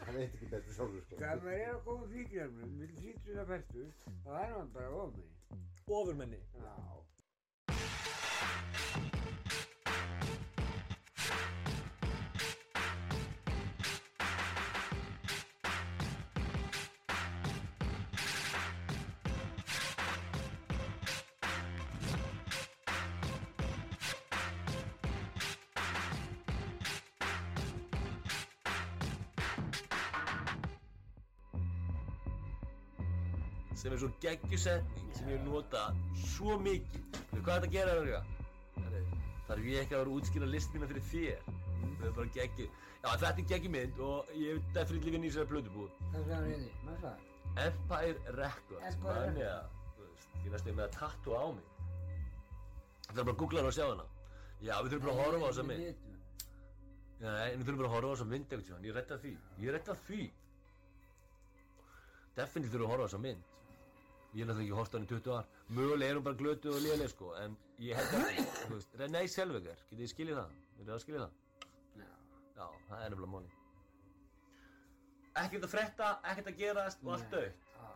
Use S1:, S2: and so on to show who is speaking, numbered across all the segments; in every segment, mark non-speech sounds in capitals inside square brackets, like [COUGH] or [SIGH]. S1: Hann veit ekki betur sjálfur sko.
S2: Þegar maður er á góðum fíkjörnum, vil sýttu það fæstu, þá er maður bara ofni.
S3: Ofurmenni.
S2: Já.
S4: sem er svo geggjusetning sem ég nota svo mikið Veistu hvað er þetta að gera verður ég? Þarf ég ekki að vera að útskýra list mína fyrir þér
S2: Mm.
S4: Það er bara geggju Já þetta er geggjumynd og ég hef definitíli vinn í þessari blödubú
S2: Það sagði hann inni, maður sagði.
S4: Empire Records
S2: Empire
S4: mann ég að þú veist, ég næstu með að tattu á mig Það er bara að googla hana og sjá hana Já við þurfum bara að horfa á þessa mynd
S2: mitt.
S4: Nei, en við þurfum bara að horfa á þessa mynd ekkert tíma, ég retta því, ég retta því. Definitely þurfum að horfa á þessa mynd. Ég er náttúrulega ekki horft á hann í 20 ár. Mögulega er hún bara glötuð og léleg sko, en ég held að, þú veist, René Selvegar, getið ég skiljið það? Eru það að skiljið það?
S2: Já.
S4: Já, það er nefnilega móni. Ekkert að frétta, ekkert að gerast og allt dögt.
S2: Já.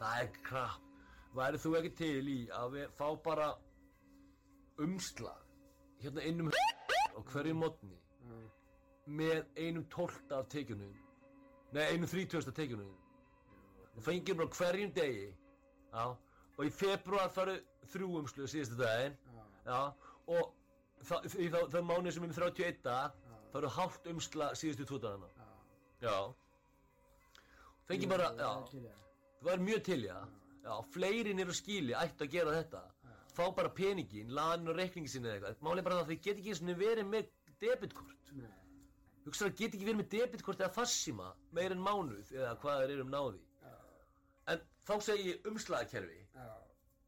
S4: Það er krap. Væri þú ekki til í að við fá bara umslag hérna inn um á hverju mótni
S2: Mm.
S4: með einum tólta af tekjunum nei, einum þrítjóðasta tekjunum og fengir bara á hverjum degi já, og í februar faru þrjú umslug síðustu daginn
S2: Já.
S4: já, og það, í þá, það mánuð sem er með 31 daga faru hálft umslag síðustu tvo dagana
S2: Já.
S4: já fengir bara, já Það var mjög til, já. Já, fleirin eru skili, ættu að gera þetta. Fá bara peningin, laðin og reikningin sinni eða eitthvað. Málið er bara það að þið get ekki einu sinni verið með debitkort.
S2: Nei.
S4: Hugsaðu að get ekki verið með debitkort eða fassíma meir en mánuð eða hvað þeir eru um náði. En þá segi ég umslagakerfi,
S2: Já.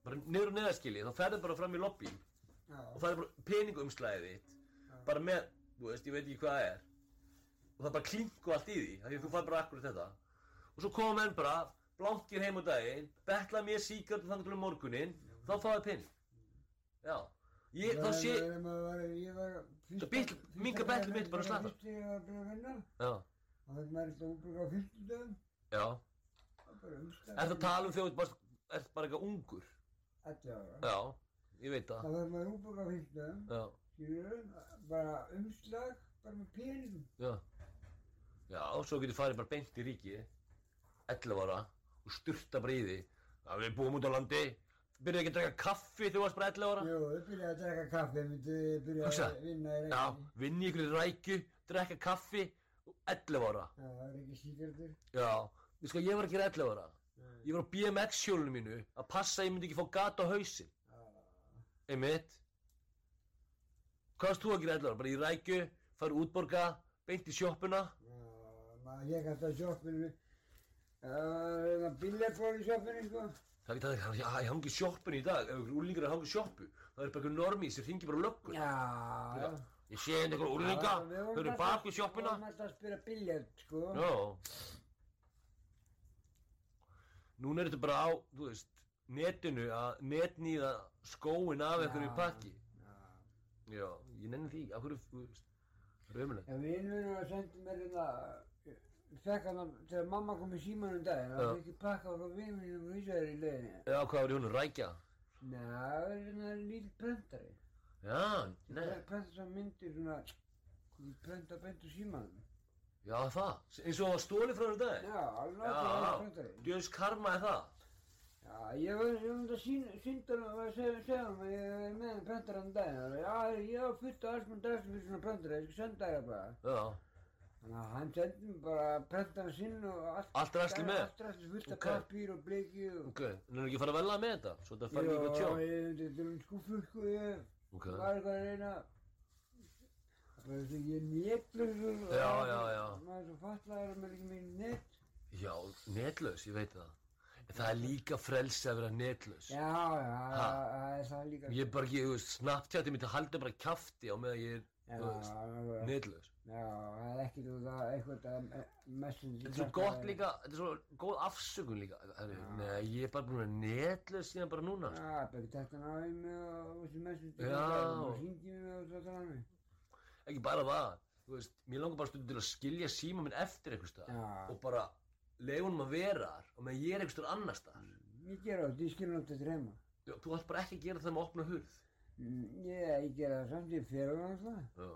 S4: bara niður og neðar skili, þá ferðu bara fram í lobby
S2: Já.
S4: og það er bara peningumslagið þitt, bara með, þú veist, ég veit ekki hvað það er. Og það bara klingu allt í því, af því að þú fær bara akkurat þetta. Og svo koma menn bara, blankir heim á daginn, betla mér síkart og þannig til um morguninn, og þá fáið pening. Já. Ég, þá sé,
S2: Ég var- ég var- ég var... fyrsta-
S4: bíll-
S2: fyrsta-
S4: minkar betli mitt bara slattar.
S2: Fyrst þegar ég var að byrja að vinna,
S4: já,
S2: og þetta maður þetta útbruk á fyrstu dögum,
S4: já.
S2: það er bara umstæðan.
S4: Er það tala um þegar þú ert bara, ert bara eitthvað ungur?
S2: Þetta ára.
S4: Já, ég veit það.
S2: Það var maður útbruk á fyrstu dögum,
S4: Já,
S2: skilur, bara umslag, bara með peningum.
S4: já. Já, og svo getur farið bara beint í ríki, 11 ára, og styrta bara í því. Það við búum út á landi, byrjuðu ekki að draka kaffi þegar þú varst bara 11 ára.
S2: Jú, ég byrjaði að drekka kaffi, ég myndi byrja
S4: Hugsa.
S2: að vinna í
S4: Já,
S2: reyni.
S4: vinn í ykkur rækju, drekka kaffi og 11 ára.
S2: Já, það er ekki síkertur.
S4: Já, við sko, ég var ekki 11 ára. Ég var á BMX hjólunum mínu að passa að ég myndi ekki fá gat á hausin. Einmitt. Hvað varst þú að gera 11 ára? Bara í rækju, fara útborga, beint í sjoppuna.
S2: Maður ég hætti á sjoppinu, það var bíljarkvór í sjoppinu, sko.
S4: Það er ekki það, ég hangi í sjoppunni í dag. Ef ykkur úlingar er að hangi í sjoppu, það er bara ykkur normi sem ringi bara löggur.
S2: Já.
S4: Ég sé hérna henni ykkur úlinga,
S2: við vorum
S4: þau eru
S2: alltaf-
S4: bak við
S2: Við
S4: sjoppuna.
S2: vorum alltaf að spila biljart, sko.
S4: Já. Núna er þetta bara á, þú veist, netinu að netnýða skóin af einhverju pakki. Já, ég nenni því, af hverju, þú veist, raumuleg.
S2: En vinnurinn var að senda mér hérna, ég fekk hann að, þegar mamma kom í símanum daginn,
S4: Já.
S2: það fekk ég pakka frá vinnurinnum og vísaður í leiðinni.
S4: Já, hvað var í honum, rækja?
S2: Nei, það var svona lítill prentari.
S4: Já, nei,
S2: Það prenta svona myndir svona, ég prenta beint úr símanum.
S4: já það, eins og það var stólið frá þér dag.
S2: Já, alveg
S4: já,
S2: nákvæmlega prentari.
S4: djöðs karma er það.
S2: Já, ég var um þetta síndan og var að segja, segja um að ég er með hann prentarinn daginn. Já, ég á fullt af alls mann dagstu fyrir svona prentara, ég skal senda þér það bara.
S4: Já,
S2: Þannig að hann sendi mér bara prentarinn sinn og allt.
S4: Allt draslið með?
S2: Allt drastlið fullt af
S4: Ok.
S2: okay. pappír og bleiki og...
S4: ok, en er ekki farið að velja með þetta, svo þetta farið
S2: Já,
S4: ekki að tjá.
S2: ég myndi þetta um skúfu, sko, ég
S4: Ok.
S2: var eitthvað að reyna. Það er bara þess að ég er netlausur. og-
S4: Já, já, já.
S2: Maður er svo fatlaður að maður er ekki með net.
S4: Já, netlaus, ég veit það. En það er líka frelsi að vera netlaus.
S2: Já, já,
S4: Ha.
S2: það er það líka.
S4: Ég er bara ekki, þú veist, snabbtjátti mitt að halda bara kjafti á meðan ég er,
S2: Já,
S4: þú veist,
S2: það er-
S4: neðlaus.
S2: Já, það er ekkert út af eitthvað að messenger
S4: Þetta er svo gott líka, þetta er svo góð afsökun líka. Herri, nei, ég er bara búin að vera neðlaus síðan bara núna. sko.
S2: Já, bara tætt hann á í mig og þessi messenger
S4: Já.
S2: Og hringi mig og svo tala mig
S4: Ekki bara það. Þú þú veist, mér langar bara stundum til að skilja síma minn eftir einhvers staðar
S2: Já.
S4: og bara leifa honum að vera þar og meðan ég er einhvers staðar annars staðar.
S2: Ég gera það, ég skilur náttúrulega þetta heima.
S4: Já, Þú ætti bara ekki að gera það með opna hurð.
S2: Mm, Ég, ég gera það samt, ég fyrir það alltaf.
S4: Já.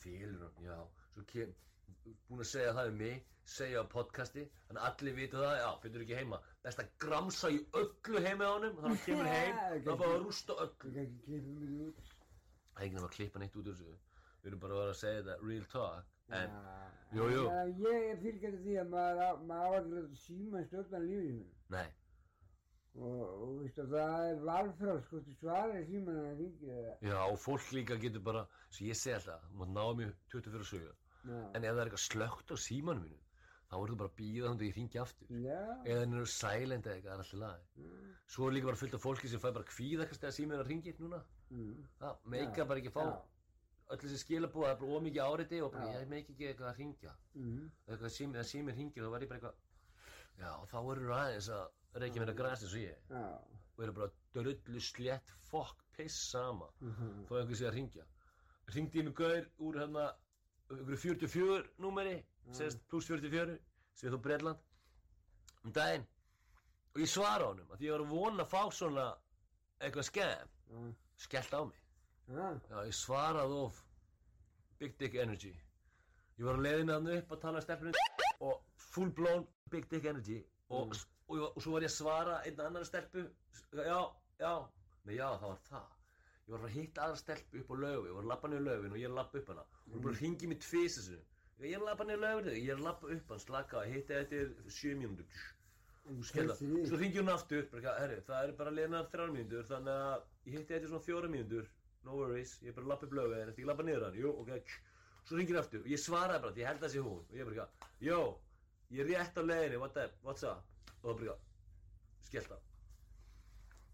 S4: Félur hann, já. Svo kem, búin að segja það um mig, segja á podcasti, þannig að allir vita það, já, fyrir ekki heima. Best að gramsa í öllu heima á honum, þannig að hann kemur heim,
S2: [LAUGHS] Já,
S4: það er bara að rústa öllu.
S2: Ég kann ekki klippa mig þetta út.
S4: Það er ekki nefn að klippa neitt út úr þessu. Við erum bara að vera að segja þetta real talk, en
S2: Já,
S4: jú, jú.
S2: já, Ég fylgjast því að maður á- maður á ekki að láta síma stjórna lífið mér.
S4: nei,
S2: Og, og veistu, það er valfráls, sko, þú svarar síman að ringja það.
S4: já, og fólk líka getur bara, sem ég segi alltaf, þú mátt náða mér 24 sögur, en ef það er eitthvað slögt á símanum mínum, þá verður þú bara að býða þannig að ég ringi aftur.
S2: Já,
S4: Eða hann eru silent eða eitthvað, það er alltaf lagi.
S2: mm,
S4: Svo er líka bara fullt af fólki sem fær bara kvíða kannski að símina ringir núna.
S2: mm,
S4: Það meika bara ekki að fá
S2: já,
S4: öll þessi skilabúið, það er bara ómikið áriti og bara
S2: Já.
S4: ég meika ekki eitthvað að ringja.
S2: mm,
S4: Eitthvað sími, eða síminn ringir þá verð ég bara eitthvað, já þá eru aðeins að reykja
S2: Mm.
S4: mér að grasa eins og ég.
S2: já,
S4: Og eru bara drullu slett fokk piss sama
S2: mhm,
S4: þó einhver sé að ringja. Ringdi ég mig gaur úr hérna einhverju 44 númeri,
S2: Mm.
S4: sérst pluss 44, sem þó Bredland, um daginn. Og ég svara honum, að því ég var að vona að fá svona eitthvað skemm,
S2: já,
S4: skellt á mig.
S2: já,
S4: Já, ég svaraði of Big Dick Energy. Ég var að leiðina hann upp að tala að stelpunni og full blown Big Dick Energy og,
S2: Mm.
S4: og, ég var, og svo var ég að svara einn annar stelpu, já, já, nei já, það var það. Ég var að fara að hitta aðra stelpu upp á laufi, ég var að lappa niður laufin og ég er að lappa upp hana. Hún er búin að hringi mig tvís þessu. Ég er að lappa niður laufin, ég er að lappa upp hann, slaka, hitta eftir sjö mínútur.
S2: en
S4: Skella.
S2: treystir því?
S4: Svo ringi hún aftur, bara, eitthvað, herri, það eru bara leiðinar þrjár mínútur, þannig að ég hitti þetta í svona fjóra mínútur, no worries, ég er bara að lappa upp lögu en eftir ég lappa niður hann, jú, ok, ksh. svo ringir hún aftur og ég svaraði bara, ég held að það sé hún, og ég bara, eitthvað, jó, ég er rétt á leiðinni, what up, what's up, og það bara, eitthvað, skellt á.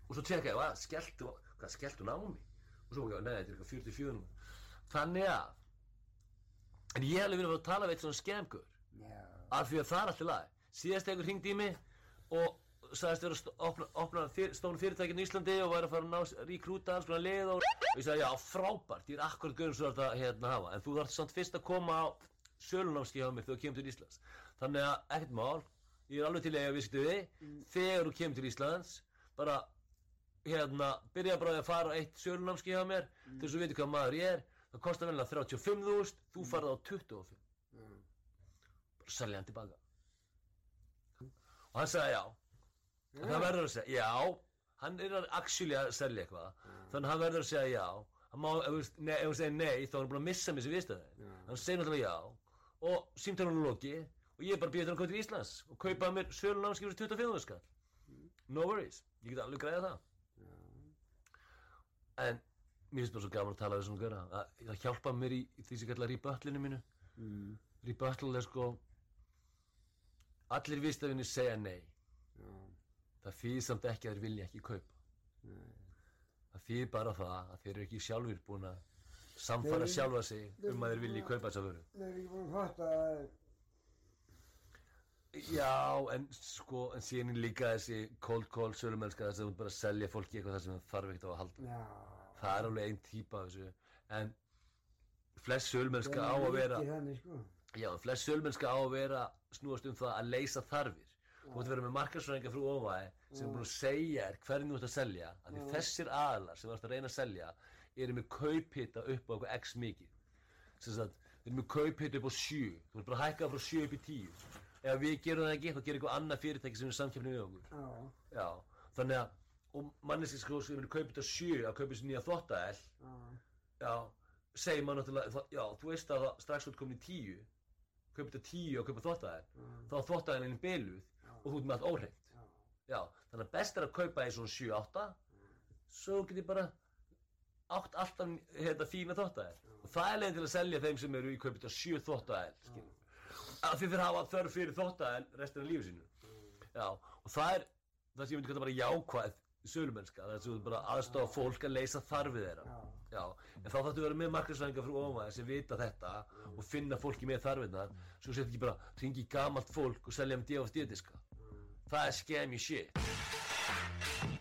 S4: Og svo tjekka ég, hvað, skellt, hvað, skellt hún á mig? Og svo bara, eitthvað, nei, þetta er eitthvað 44 númer. Þannig að, en ég hef alveg verið að fara að tala við eitt svona skemgur,
S2: Já,
S4: af því að það er allt í lagi. Síðast einhver hringdi í mig og sagðist vera að st- opna, opna fyr, stónu fyrirtækinu í Íslandi og væri að fara að ná s- rekrúta alls konar lið og, og ég sagði já, frábært, ég er akkurat gauðum svo þetta hérna hafa en þú þarf samt fyrst að koma á sölunámski hjá mér þegar þú kemur til Íslands þannig að ekkert mál, ég er alveg til í að eiga viðskipti við
S2: Mm.
S4: þegar þú kemur til Íslands bara hérna, byrja bara á því að fara á eitt sölunámski hjá mér
S2: Mm.
S4: til þess að þú veitir hvað maður ég er það kostar vel 35.000, þú
S2: Mm.
S4: farð á 25
S2: já,
S4: bara selja hann tilbaka og hann sagði já
S2: já,
S4: og hann verður að segja já hann er að actually að selja eitthvað þannig að hann verður að segja já hann má, ef, þú veist- nei, ef hann segir nei þá er hann búin að missa mér sem viðstæði
S2: já.
S4: hann segir náttúrulega já og símtælunum loki og ég er bara býðið hann að koma til Íslands og kaupa mér sölunafnskipur 25 skall no worries, ég get alveg græða það en mér finnst bara svo gaman að tala við svona gæra það hjálpa mér í, í því sem kallar í böllinu mínu
S2: Mm,
S4: rebuttal er sko allir viðstafinni segja nei
S2: já,
S4: það þýðir samt ekki að þeir vilja ekki kaupa
S2: nei.
S4: það þýðir bara það að þeir eru ekki sjálfur búin að samfara
S2: Þeir-
S4: sjálfa sig
S2: þeir-
S4: um að þeir vilji kaupa þessa vöru
S2: Þeir eru ekki búin að fatta að,
S4: já en sko en síðan er líka þessi cold call sölumennska þess að þú ert bara að selja fólki eitthvað það sem það þarf ekkert á að halda
S2: já.
S4: það er alveg einn típa af þessu en flest sölumennska á
S2: Þeir
S4: að
S2: eru
S4: vera
S2: ekki Þannig, sko.
S4: já flest sölumennska á að vera snúast um það að leysa þarfir Þú ert að vera með markarsræðinga frú óvæði sem er búin að segja þér hvernig þú ert að selja af því
S2: Já.
S4: þessir aðlar sem þú ert að reyna að selja eru með kauphitta upp á eitthvað x mikið sem sagt, þeir eru með kauphitta upp á 7 þú ert bara að hækka frá 7 upp í 10 ef við gerum það ekki, þá gerir eitthvað annað fyrirtæki sem er samkjöfni við okkur
S2: Já,
S4: Já. þannig að, og manneski sko sem eru kauphitta 7 að kaupa sér nýja þvottaðel
S2: já,
S4: já, segir maður náttúrulega það- já, þú veist að það strax þú ert komin í 10 kauphitta 10 að kaupa þvottaðel
S2: já,
S4: þá þvottaðelin biluð og þú ert með allt óhreint
S2: já.
S4: Já, þannig að best er að kaupa í svona 7-8 svo get ég bara átt alltaf hérna, fína þóttaðil og það er leiðin til að selja þeim sem eru í kaupið á 7 þóttaðil af því þeir hafa þörf fyrir þóttaðil restina af lífi sínu Já, og það er það sem ég myndi kalla bara jákvæð sölumennska, það er sem þú bara aðstofa fólk að leysa þarfið þeirra
S2: já.
S4: Já, en þá þáttu að vera með markarsvæðingar frú ómaði sem vita þetta og finna fólki með þarfinnar svo setjum ekki bara hringi í gamalt fólk og selja um D.O.F.D. diska Það er scammy shit